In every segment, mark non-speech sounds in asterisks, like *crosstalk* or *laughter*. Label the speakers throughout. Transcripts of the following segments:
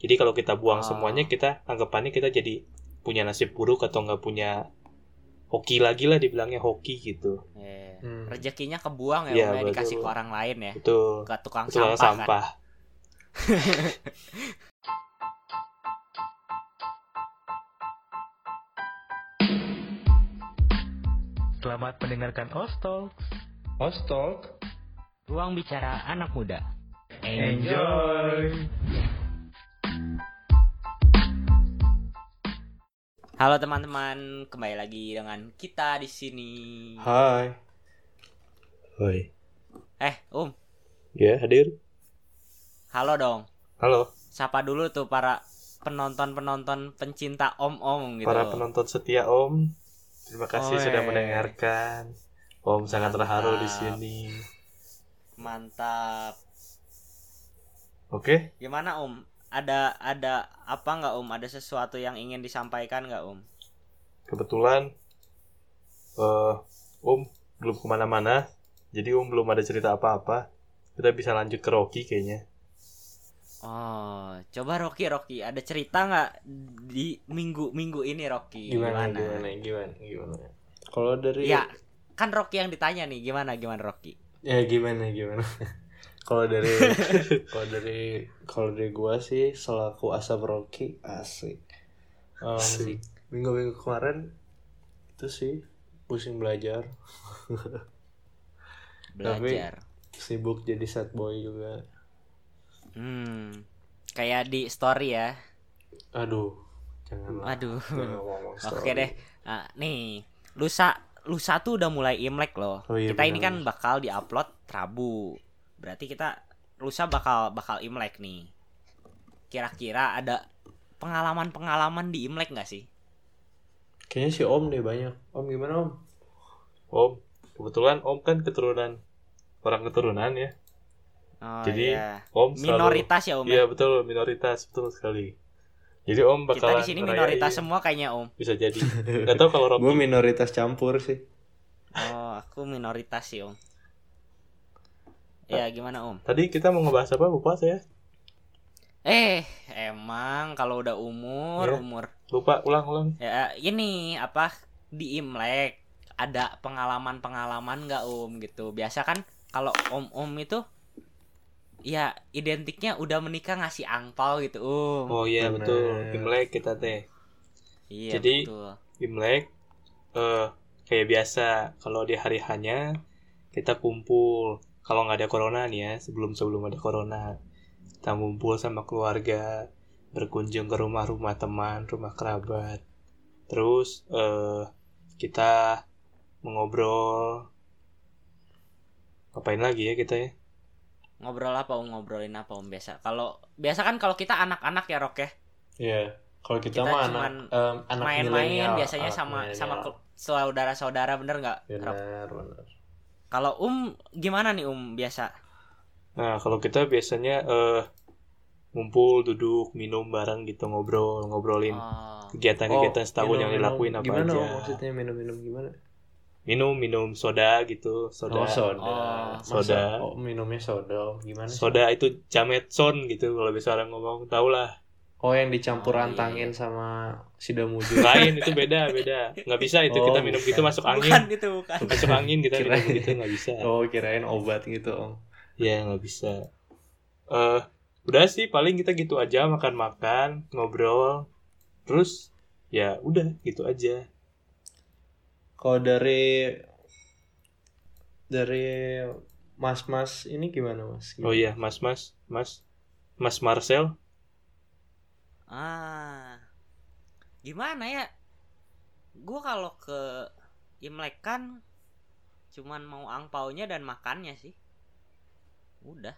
Speaker 1: Jadi kalau kita buang
Speaker 2: Ah.
Speaker 1: semuanya kita anggapannya kita jadi punya nasib buruk atau nggak punya hoki lagi lah dibilangnya hoki gitu.
Speaker 2: Iya.
Speaker 3: Hmm.
Speaker 2: Rezekinya kebuang ya,
Speaker 1: Iya,
Speaker 2: udah dikasih
Speaker 1: betul.
Speaker 2: ke orang lain ya.
Speaker 1: Betul.
Speaker 2: Ke tukang
Speaker 1: Betul
Speaker 2: sampah,
Speaker 1: sampah.
Speaker 2: kan.
Speaker 3: Selamat mendengarkan Ostol. Ostol.
Speaker 4: Ruang bicara anak muda.
Speaker 3: Enjoy.
Speaker 2: Halo teman-teman, kembali lagi dengan kita di sini.
Speaker 1: Hai. Hai.
Speaker 2: Eh, Um,
Speaker 1: Ya, hadir.
Speaker 2: halo dong.
Speaker 1: Halo,
Speaker 2: Sapa dulu tuh para penonton-penonton pencinta om-om gitu.
Speaker 1: para penonton setia Om. Terima kasih
Speaker 2: Oe.
Speaker 1: sudah mendengarkan. Om sangat terharu di
Speaker 2: Mantap.
Speaker 1: sini.
Speaker 2: Mantap.
Speaker 1: Oke,
Speaker 2: Gimana, Um? Ada ada apa nggak Um? Ada sesuatu yang ingin disampaikan nggak Um?
Speaker 1: kebetulan eh Om belum kemana-mana, jadi Om belum ada cerita apa-apa. Kita bisa lanjut ke Rocky kayaknya.
Speaker 2: Oh, coba Rocky Rocky, ada cerita nggak di minggu minggu ini Rocky?
Speaker 3: Gimana, gimana, gimana, gimana. Kalau dari
Speaker 2: Ya, kan Rocky yang ditanya nih, gimana gimana Rocky?
Speaker 3: ya gimana, gimana. *laughs* kalau dari
Speaker 2: *laughs*
Speaker 3: kalau dari kalau dari gua sih selaku asap Rocky asik. Em,
Speaker 1: Asik.
Speaker 3: Minggu-minggu kemarin itu sih pusing belajar,
Speaker 2: Belajar.
Speaker 3: sibuk jadi sad boy juga.
Speaker 2: Hmm. Kayak di story ya.
Speaker 3: Aduh,
Speaker 2: *laughs*
Speaker 3: janganlah.
Speaker 2: Aduh.
Speaker 3: Jangan ngomong
Speaker 2: Oke
Speaker 3: story.
Speaker 2: deh. Ah, nih, lusa lusa tuh udah mulai Imlek loh.
Speaker 3: Oh iya,
Speaker 2: kita ini
Speaker 3: benar.
Speaker 2: kan bakal diupload Rabu. Berarti kita lusa bakal bakal Imlek nih. Kira-kira ada pengalaman-pengalaman di Imlek nggak sih?
Speaker 3: Kayaknya si Om deh banyak. Om gimana
Speaker 2: *laughs*
Speaker 3: Om?
Speaker 1: Om, kebetulan Om kan keturunan orang keturunan ya.
Speaker 2: Oh,
Speaker 1: Jadi,
Speaker 2: iya.
Speaker 1: Om selalu
Speaker 2: minoritas ya Om. ya?
Speaker 1: Iya betul minoritas betul sekali. Jadi Om
Speaker 2: kita
Speaker 1: bakalan
Speaker 2: di sini
Speaker 1: ngerayain-
Speaker 2: minoritas semua kayaknya Om.
Speaker 1: bisa jadi. Gak tau
Speaker 3: *laughs*
Speaker 1: kalau Rocky
Speaker 3: Gue minoritas campur sih.
Speaker 2: Oh, aku minoritas sih Om. Ya gimana Om?
Speaker 1: Tadi kita mau ngebahas apa lupa ya? saya.
Speaker 2: Eh, emang kalau udah umur,
Speaker 1: Iya.
Speaker 2: umur
Speaker 1: Lupa ulang-ulang.
Speaker 2: Ya, ini apa di Imlek ada pengalaman-pengalaman nggak Om gitu. Biasa kan kalau om-om itu ya identiknya udah menikah ngasih angpau gitu, Om.
Speaker 1: Oh iya
Speaker 3: Bener.
Speaker 1: betul. Imlek kita teh.
Speaker 2: iya,
Speaker 1: jadi-
Speaker 2: betul.
Speaker 1: Imlek eh kayak biasa kalau di hari hanya kita kumpul. Kalau nggak ada corona nih ya, sebelum sebelum ada corona, kita ngumpul sama keluarga, berkunjung ke rumah-rumah teman, rumah kerabat. Terus eh kita mengobrol ngapain lagi ya kita ya?
Speaker 2: Ngobrol apa Om? Ngobrolin apa Om biasa? Kalau biasa kan kalau kita anak-anak ya, Rok ya.
Speaker 3: Iya. Kalau kita,
Speaker 2: Kita
Speaker 3: mah
Speaker 2: cuman
Speaker 3: anak em, anak
Speaker 2: Main-main
Speaker 3: milenial,
Speaker 2: biasanya
Speaker 3: anak
Speaker 2: sama sama
Speaker 3: milenial.
Speaker 2: ke- saudara-saudara bener nggak? Rok?
Speaker 3: Benar, benar.
Speaker 2: Kalau Um gimana nih Um biasa?
Speaker 1: Nah, kalau kita biasanya eh ngumpul, duduk, minum bareng gitu, ngobrol, ngobrolin
Speaker 2: Oh,
Speaker 1: kegiatan-kegiatan setahun yang dilakuin
Speaker 3: minum-minum.
Speaker 1: apa
Speaker 3: gimana,
Speaker 1: aja.
Speaker 3: Om, maksudnya minum-minum gimana?
Speaker 1: Minum, minum soda gitu, soda.
Speaker 3: Oh, soda.
Speaker 2: Oh.
Speaker 3: Masa-
Speaker 1: Soda.
Speaker 3: Oh, minumnya soda. Om. Gimana? sih?
Speaker 1: soda itu jametson gitu kalau bisa orang ngomong, tau lah.
Speaker 3: Oh, yang
Speaker 2: Oh,
Speaker 3: dicampur
Speaker 2: iya,
Speaker 3: rantangin sama sida *laughs* mujur.
Speaker 1: Lain itu beda, beda. Nggak bisa itu
Speaker 3: Oh,
Speaker 1: kita minum gitu
Speaker 3: bukan.
Speaker 1: masuk
Speaker 2: bukan
Speaker 1: angin.
Speaker 2: itu bukan.
Speaker 1: Masuk angin kita
Speaker 3: Kirain.
Speaker 1: minum gitu nggak bisa.
Speaker 3: oh, kirain obat gitu, Om.
Speaker 1: Ya, nggak bisa. Eh, udah sih paling kita gitu aja makan-makan, ngobrol. Terus ya udah gitu aja.
Speaker 3: Kalau dari dari mas-mas ini gimana, Mas?
Speaker 1: Oh iya, Mas Mas, Mas Mas Marcel.
Speaker 2: Ah, gimana ya? Gue kalau ke Imlek kan cuman mau angpaunya dan makannya sih. Udah.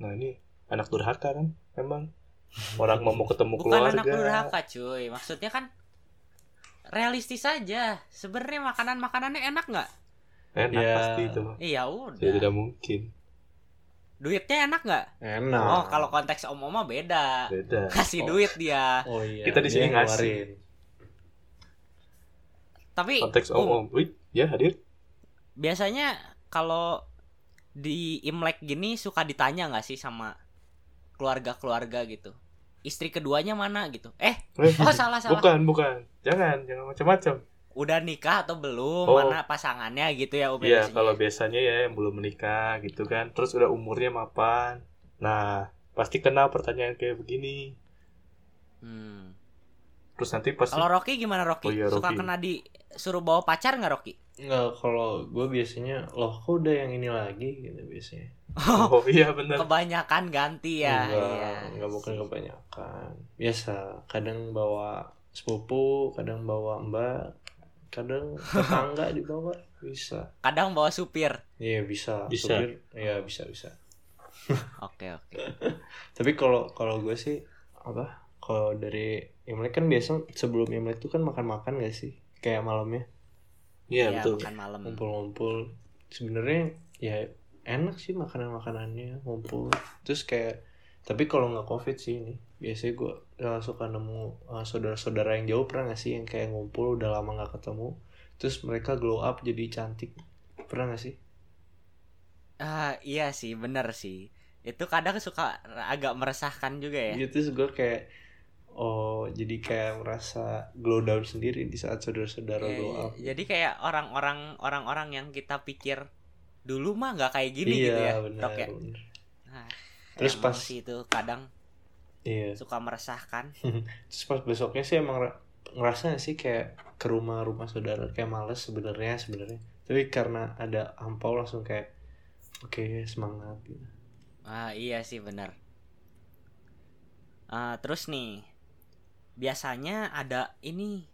Speaker 1: Nah, ini anak durhaka kan emang orang mau mau ketemu
Speaker 2: Bukan
Speaker 1: keluarga.
Speaker 2: anak durhaka cuy. Maksudnya kan realistis aja. Sebenarnya makanan makanannya enak nggak?
Speaker 1: Enak
Speaker 3: Ya.
Speaker 1: pasti itu mah.
Speaker 2: Iya
Speaker 1: Ya,
Speaker 2: udah.
Speaker 1: tidak mungkin.
Speaker 2: Duitnya enak nggak?
Speaker 3: Enak.
Speaker 2: Oh kalau konteks om oma beda.
Speaker 1: Beda.
Speaker 2: Kasih
Speaker 3: Nah. Oh.
Speaker 2: duit dia.
Speaker 3: Oh iya.
Speaker 1: Kita di
Speaker 3: dia
Speaker 1: sini ngasih.
Speaker 3: ngeluarin.
Speaker 2: Tapi
Speaker 1: Konteks
Speaker 2: Om,
Speaker 1: om-om. Wih, ya hadir.
Speaker 2: biasanya kalau di Imlek gini suka ditanya nggak sih sama keluarga-keluarga gitu? istri keduanya mana gitu eh
Speaker 1: Eh, *laughs*
Speaker 2: oh salah salah
Speaker 1: bukan, bukan. Jangan, jangan macam-macam.
Speaker 2: udah nikah atau belum
Speaker 1: Oh.
Speaker 2: mana pasangannya gitu ya Om
Speaker 1: Iya,
Speaker 2: biasanya.
Speaker 1: kalau biasanya ya yang belum menikah gitu kan. Terus udah umurnya mapan. Nah, pasti kena pertanyaan kayak begini.
Speaker 2: Hmm.
Speaker 1: Terus nanti pasti
Speaker 2: Kalau Rocky gimana
Speaker 1: Oh
Speaker 2: Rocky?
Speaker 1: iya,
Speaker 2: Suka
Speaker 1: Rocky.
Speaker 2: kena disuruh bawa pacar nggak Rocky?
Speaker 3: Nggak, kalau gue biasanya loh kok udah yang ini lagi gitu biasanya.
Speaker 1: *laughs* Oh iya
Speaker 2: *laughs*
Speaker 1: benar.
Speaker 2: Kebanyakan ganti ya.
Speaker 3: enggak,
Speaker 2: iya.
Speaker 3: enggak bukan kebanyakan. Biasa, kadang bawa sepupu, kadang bawa mbak, kadang tetangga dibawa bisa.
Speaker 2: Kadang bawa supir.
Speaker 3: Iya bisa.
Speaker 1: Bisa.
Speaker 3: Supir, Iya bisa bisa.
Speaker 2: Oke oke.
Speaker 3: Tapi kalau kalau gue sih apa? Kalau dari Imlek kan biasa sebelum Imlek tuh kan makan-makan gak sih? Kayak malamnya
Speaker 1: Iya
Speaker 2: Iya,
Speaker 1: betul.
Speaker 2: makan malam.
Speaker 3: ngumpul-ngumpul. Sebenarnya ya enak sih makanan-makanannya ngumpul. Terus kayak tapi kalau nggak covid sih ini biasanya gue suka nemu eh, saudara-saudara yang jauh pernah gak sih yang kayak ngumpul udah lama nggak ketemu terus mereka glow up jadi cantik pernah gak sih
Speaker 2: Ah, iya sih, bener sih. Itu kadang suka agak meresahkan juga
Speaker 1: Iya,
Speaker 2: ya.
Speaker 3: gitu terus gue kayak oh jadi kayak merasa glow down sendiri di saat saudara-saudara
Speaker 2: Iya,
Speaker 3: glow
Speaker 2: iya.
Speaker 3: up
Speaker 2: Jadi kayak orang-orang orang-orang yang kita pikir dulu mah nggak kayak gini
Speaker 3: iya
Speaker 2: gitu ya.
Speaker 3: benar,
Speaker 2: Tok ya.
Speaker 3: benar.
Speaker 2: Nah,
Speaker 3: terus
Speaker 2: emang
Speaker 3: pas
Speaker 2: sih itu kadang
Speaker 3: iya
Speaker 2: suka meresahkan.
Speaker 3: terus pas besoknya sih emang ra- ngerasa gak sih kayak ke rumah rumah saudara kayak males sebenarnya sebenarnya tapi karena ada ampau langsung kayak oke semangat gitu
Speaker 2: Ah, iya sih bener. Ah, terus nih, biasanya ada ini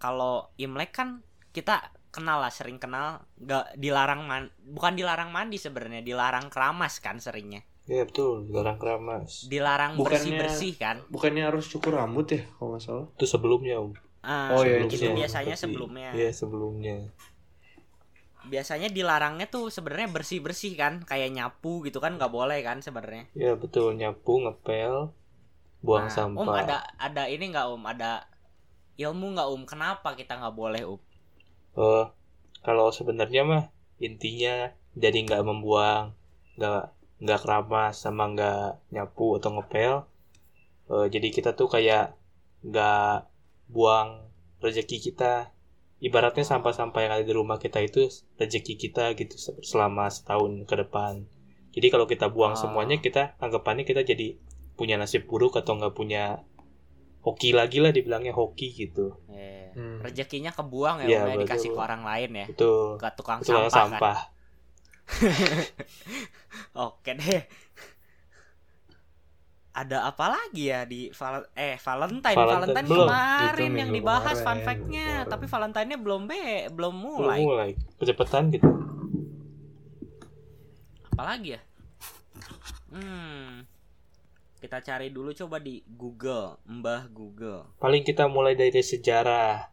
Speaker 2: kalau Imlek kan kita kenal lah sering kenal nggak dilarang man bukan dilarang mandi sebenarnya dilarang keramas kan seringnya
Speaker 1: Iya betul. Dilarang keramas.
Speaker 2: dilarang bersih
Speaker 3: Bukannya-
Speaker 2: bersih kan
Speaker 3: bukannya harus cukur rambut ya kalau nggak salah
Speaker 1: Itu sebelumnya, Om.
Speaker 2: Ah,
Speaker 3: Oh, iya,
Speaker 2: itu
Speaker 1: sebelumnya.
Speaker 2: biasanya
Speaker 1: Tapi-
Speaker 2: sebelumnya
Speaker 1: Iya, sebelumnya.
Speaker 2: biasanya dilarangnya tuh sebenarnya bersih bersih kan kayak nyapu gitu kan nggak boleh kan sebenarnya
Speaker 1: Iya betul. Nyapu, ngepel, buang
Speaker 2: Nah,
Speaker 1: sampah.
Speaker 2: om ada ada ini nggak om ada ilmu nggak om kenapa kita nggak boleh om
Speaker 1: Eh, kalau sebenarnya mah intinya jadi nggak membuang, nggak nggak keramas sama nggak nyapu atau ngepel. Eh, jadi kita tuh kayak nggak buang rezeki kita. Ibaratnya sampah-sampah yang ada di rumah kita itu rezeki kita gitu se- selama setahun ke depan. Jadi kalau kita buang
Speaker 2: Ah.
Speaker 1: semuanya kita anggapannya kita jadi punya nasib buruk atau nggak punya hoki lagi lah dibilangnya hoki gitu.
Speaker 2: Eh,
Speaker 3: Hmm.
Speaker 2: rezekinya kebuang ya,
Speaker 1: Iya,
Speaker 2: om ya
Speaker 1: betul.
Speaker 2: dikasih ke orang lain ya
Speaker 1: Betul.
Speaker 2: ke tukang
Speaker 1: Itu
Speaker 2: sampah,
Speaker 1: sampah.
Speaker 2: kan
Speaker 1: sampah.
Speaker 2: oke deh *laughs* ada apa lagi ya di val eh
Speaker 1: Valentine
Speaker 2: Valentine Valentine,
Speaker 1: belum.
Speaker 2: kemarin
Speaker 3: Itu
Speaker 2: yang
Speaker 3: minggu
Speaker 2: dibahas fun
Speaker 3: kemarin,
Speaker 2: fact-nya
Speaker 3: minggu kemarin.
Speaker 2: tapi Valentine-nya belum be belum mulai
Speaker 1: mulai. mulai kecepatan gitu
Speaker 2: apalagi ya hmm kita cari dulu coba di Google Mbah Google
Speaker 1: paling kita mulai dari sejarah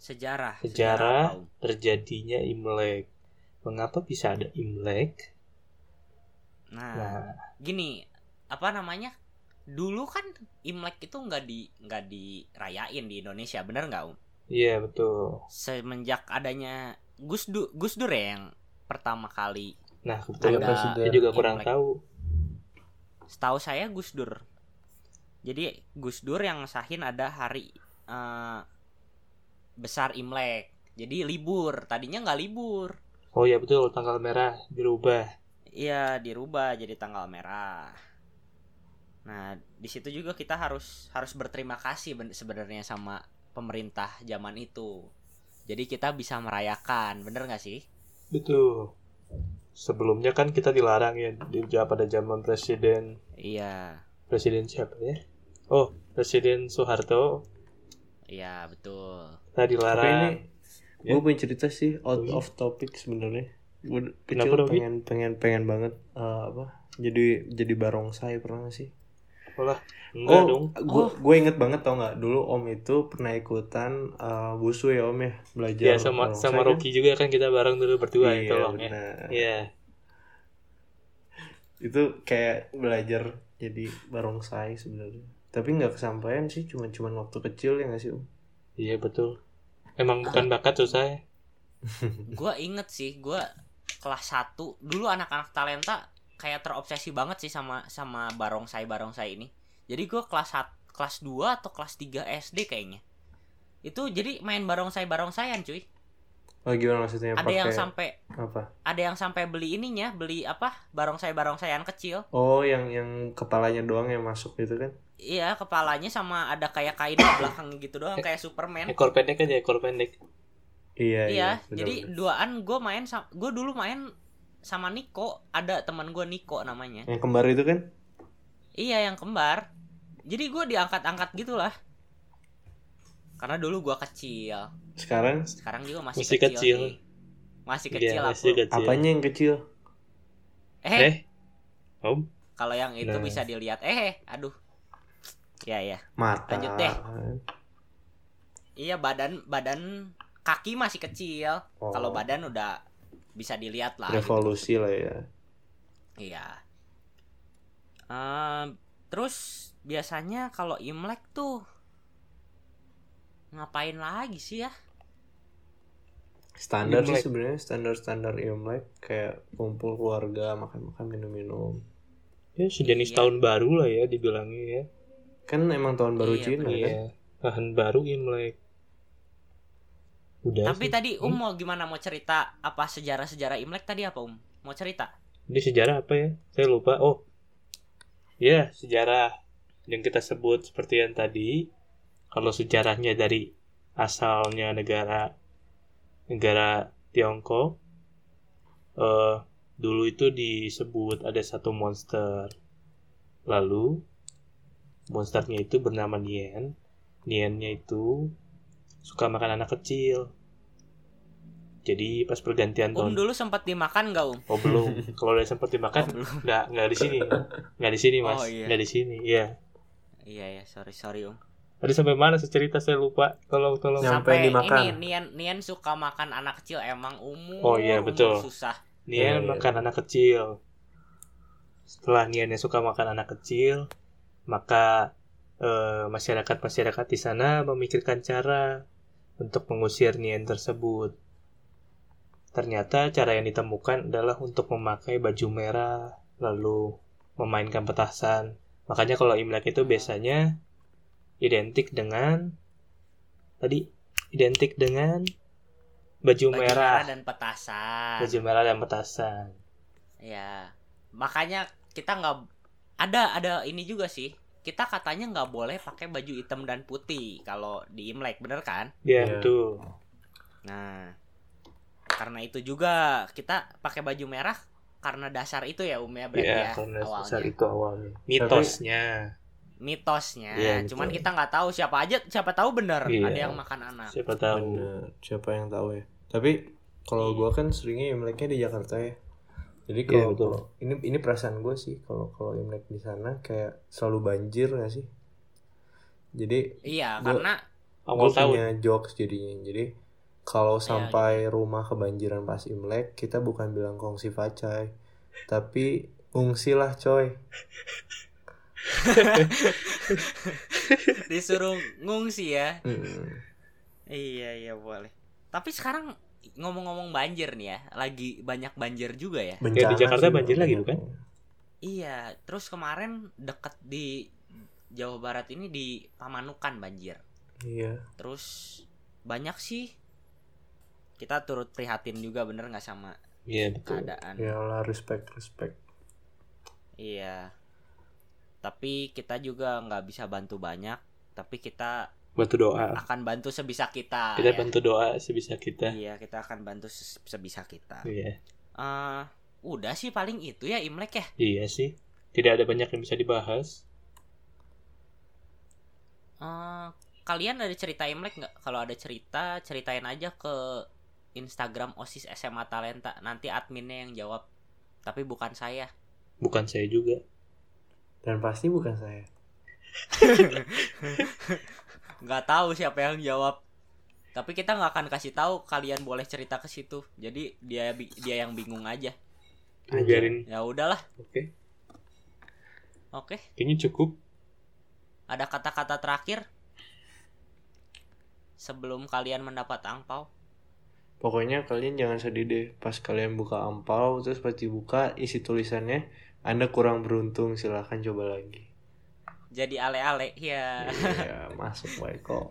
Speaker 2: sejarah
Speaker 1: Sejarah.
Speaker 2: apa, Om?
Speaker 1: terjadinya Imlek mengapa bisa ada Imlek
Speaker 2: nah,
Speaker 1: nah
Speaker 2: gini apa namanya dulu kan Imlek itu nggak di nggak dirayain di Indonesia bener nggak Om
Speaker 1: iya betul
Speaker 2: semenjak adanya Gus Du Gus Dur ya yang pertama kali
Speaker 1: nah kebetulan
Speaker 2: Ada
Speaker 1: saya juga kurang
Speaker 2: Imlek.
Speaker 1: tahu
Speaker 2: setahu saya Gus Dur jadi Gus Dur yang ngesahin ada hari eh, besar Imlek jadi libur tadinya nggak libur
Speaker 1: oh iya betul tanggal merah dirubah
Speaker 2: Iya, dirubah jadi tanggal merah. Nah, di situ juga kita harus harus berterima kasih ben- sebenarnya sama pemerintah zaman itu. Jadi kita bisa merayakan, bener nggak sih?
Speaker 1: betul sebelumnya kan kita dilarang ya di pada zaman presiden
Speaker 2: Iya,
Speaker 1: presiden siapa ya oh presiden Soeharto
Speaker 2: iya betul.
Speaker 1: kita
Speaker 3: tapi
Speaker 1: dilarang
Speaker 3: ini
Speaker 1: Ya.
Speaker 3: gue punya cerita sih out
Speaker 1: Iya.
Speaker 3: of topic sebenarnya gue
Speaker 1: Kenapa,
Speaker 3: kecil
Speaker 1: Robi?
Speaker 3: pengen pengen pengen banget eh, apa jadi jadi barongsai pernah gak sih Oh,
Speaker 1: enggak dong
Speaker 3: gue gue inget banget tau nggak dulu om itu pernah ikutan eh, busu ya om ya
Speaker 1: ya
Speaker 3: belajar.
Speaker 1: sama
Speaker 3: barongsai
Speaker 1: sama
Speaker 3: kan?
Speaker 1: Rocky juga kan kita bareng dulu berdua
Speaker 3: Iya,
Speaker 1: ya tolong ya
Speaker 3: benar.
Speaker 1: iya
Speaker 3: Itu kayak belajar jadi barongsai sebenarnya. Tapi nggak kesampaian sih, cuman-cuman waktu kecil ya nggak sih om?
Speaker 1: Iya betul. Emang bukan bakat susah ya?
Speaker 2: Gua inget sih, gua kelas 1 dulu anak-anak talenta kayak terobsesi banget sih sama sama barongsai barongsai ini. Jadi gue kelas sat- kelas 2 atau kelas 3 SD kayaknya. Itu jadi main barongsai-barongsayan cuy.
Speaker 3: Oh gimana maksudnya?
Speaker 2: Ada
Speaker 3: pakai
Speaker 2: yang sampai
Speaker 3: apa?
Speaker 2: ada yang sampai beli ininya, beli apa? Barongsai-barongsayan kecil.
Speaker 3: Oh yang yang kepalanya doang yang masuk gitu kan?
Speaker 2: Iya, kepalanya sama ada kayak kain di belakang gitu doang kayak *laughs* Superman.
Speaker 1: Ekor pendek aja, ekor pendek.
Speaker 3: Iya.
Speaker 2: Iya,
Speaker 3: benar,
Speaker 2: jadi
Speaker 3: benar.
Speaker 2: duaan gue main gue dulu main sama Niko, ada teman gue Niko namanya.
Speaker 3: yang kembar itu kan?
Speaker 2: Iya yang kembar. Jadi gue diangkat-angkat gitulah. Karena dulu gua kecil.
Speaker 3: Sekarang
Speaker 2: Sekarang juga masih,
Speaker 1: Masih
Speaker 2: kecil.
Speaker 1: kecil.
Speaker 2: sih. Masih kecil
Speaker 1: Iya,
Speaker 2: aku.
Speaker 1: masih kecil.
Speaker 3: apanya yang kecil?
Speaker 2: Eh,
Speaker 1: Eh? Om?
Speaker 2: kalau yang itu
Speaker 3: Nah.
Speaker 2: bisa dilihat. Eh, aduh. Ya ya.
Speaker 3: Mata.
Speaker 2: Lanjut deh. Iya badan badan kaki masih kecil.
Speaker 3: Oh,
Speaker 2: Kalau badan udah bisa dilihat lah. gitu.
Speaker 3: revolusi lah ya.
Speaker 2: Iya. Ehm, terus biasanya kalau Imlek tuh ngapain lagi sih ya?
Speaker 3: Standar
Speaker 1: Imlek.
Speaker 3: sih sebenarnya standar-standar Imlek kayak kumpul keluarga, makan-makan, minum-minum.
Speaker 1: Ya, sejenis
Speaker 2: Iya.
Speaker 1: tahun baru lah ya dibilangnya ya.
Speaker 3: Kan emang tahun baru
Speaker 2: Iya,
Speaker 3: Cina kan?
Speaker 1: Iya. Tahun baru Imlek. Udah Iya
Speaker 2: Tapi
Speaker 1: sih.
Speaker 2: tadi Um mau gimana mau cerita apa sejarah-sejarah Imlek tadi apa Um? Mau cerita?
Speaker 1: Ini sejarah apa ya? Saya lupa. Oh, ya sejarah yang kita sebut seperti yang tadi. Kalau sejarahnya dari asalnya negara negara Tiongkok, eh, dulu itu disebut ada satu monster. Lalu monsternya itu bernama Nien. Niennya itu suka makan anak kecil. Jadi pas pergantian
Speaker 2: Um
Speaker 1: tahun
Speaker 2: dulu sempat dimakan nggak Um?
Speaker 1: Oh belum. Kalau udah sempat
Speaker 2: Oh,
Speaker 1: dimakan
Speaker 2: belum.
Speaker 1: nggak nggak di sini, nggak di sini mas,
Speaker 2: Oh, iya.
Speaker 1: nggak di sini. Iya.
Speaker 2: Iya ya, sorry sorry Um.
Speaker 1: Tadi sampai mana sih cerita saya lupa. Tolong tolong.
Speaker 3: Nyam- Sampai dimakan.
Speaker 2: ini Nian Nian suka makan anak kecil emang umur.
Speaker 1: Oh, iya,
Speaker 2: umur
Speaker 1: betul.
Speaker 2: susah.
Speaker 1: Nian
Speaker 3: Iya, iya.
Speaker 1: makan anak kecil. Setelah Nian yang suka makan anak kecil, maka eh, masyarakat-masyarakat di sana memikirkan cara untuk mengusir Nian tersebut. Ternyata cara yang ditemukan adalah untuk memakai baju merah lalu memainkan petasan. Makanya kalau Imlek itu biasanya identik dengan tadi identik dengan baju,
Speaker 2: Baju
Speaker 1: merah
Speaker 2: merah dan petasan.
Speaker 1: baju merah dan petasan
Speaker 2: Ya, makanya kita nggak ada ada ini juga sih. Kita katanya nggak boleh pakai baju hitam dan putih kalau di Imlek, bener kan?
Speaker 1: ya
Speaker 3: Iya.
Speaker 1: betul
Speaker 2: Nah, karena itu juga kita pakai baju merah karena dasar itu ya Umi ya berarti
Speaker 1: ya,
Speaker 2: ya
Speaker 1: karena
Speaker 2: awalnya.
Speaker 1: besar itu awalnya mitosnya
Speaker 2: Mitosnya.
Speaker 1: Iya,
Speaker 2: Cuman
Speaker 1: betul.
Speaker 2: kita nggak tahu siapa aja, siapa tahu bener
Speaker 1: Iya.
Speaker 2: ada yang makan anak.
Speaker 1: siapa tahu
Speaker 3: Bener. Siapa yang tahu ya. Tapi kalau gua kan seringnya Imleknya di Jakarta ya. Jadi
Speaker 1: Iya,
Speaker 3: kalau
Speaker 1: betul.
Speaker 3: ini ini perasaan gue sih kalau kalau Imlek di sana kayak selalu banjir gak sih? Jadi
Speaker 2: Iya,
Speaker 3: Gua-
Speaker 2: karena
Speaker 1: awal
Speaker 3: Gua
Speaker 1: tahun
Speaker 3: punya jokes jadinya jadi kalau
Speaker 2: Iya,
Speaker 3: sampai rumah kebanjiran pas imlek kita bukan bilang kongsi facai tapi ngungsilah coy
Speaker 2: disuruh ngungsi ya.
Speaker 3: Mm.
Speaker 2: Iya iya boleh. Tapi sekarang ngomong-ngomong banjir nih ya, lagi banyak banjir juga ya.
Speaker 1: di Jakarta
Speaker 3: sih,
Speaker 1: banjir lagi, bukan?
Speaker 2: Iya, terus kemarin deket di Jawa Barat ini di Pamanukan banjir.
Speaker 3: iya
Speaker 2: Terus banyak sih kita turut prihatin juga bener nggak sama
Speaker 1: iya betul
Speaker 2: keadaan.
Speaker 3: ya lah respect respect
Speaker 2: Iya. Tapi kita juga nggak bisa bantu banyak, tapi kita
Speaker 1: bantu doa
Speaker 2: akan bantu sebisa kita.
Speaker 1: Ah. kita
Speaker 2: ya.
Speaker 1: bantu doa sebisa kita
Speaker 2: Iya, kita akan bantu se- sebisa kita.
Speaker 1: iya
Speaker 2: Eh, udah sih paling itu ya Imlek ya.
Speaker 1: iya sih tidak ada banyak yang bisa dibahas
Speaker 2: Eh, kalian ada cerita Imlek nggak? Kalau ada cerita, ceritain aja ke Instagram OSIS SMA Talenta. Nanti adminnya yang jawab. Tapi bukan saya.
Speaker 1: bukan saya juga
Speaker 3: dan pasti bukan saya
Speaker 2: Nggak tahu siapa yang jawab. Tapi kita nggak akan kasih tahu. Kalian boleh cerita ke situ. Jadi dia bi- dia yang bingung aja.
Speaker 3: Aja.
Speaker 1: biarin
Speaker 2: Ya udahlah.
Speaker 1: oke
Speaker 2: Oke.
Speaker 1: kayaknya cukup
Speaker 2: Ada kata-kata terakhir sebelum kalian mendapat angpau.
Speaker 3: pokoknya kalian jangan sedih deh pas kalian buka ampau terus pas dibuka isi tulisannya anda kurang beruntung silahkan coba lagi
Speaker 2: jadi ale-ale ya
Speaker 3: Iya, masuk baik kok.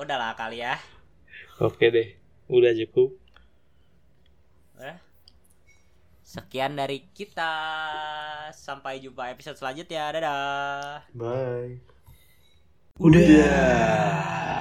Speaker 2: udahlah kali ya
Speaker 1: Oke deh, udah cukup.
Speaker 2: sekian dari kita sampai jumpa episode selanjutnya dadah
Speaker 3: Bye.
Speaker 1: Udah.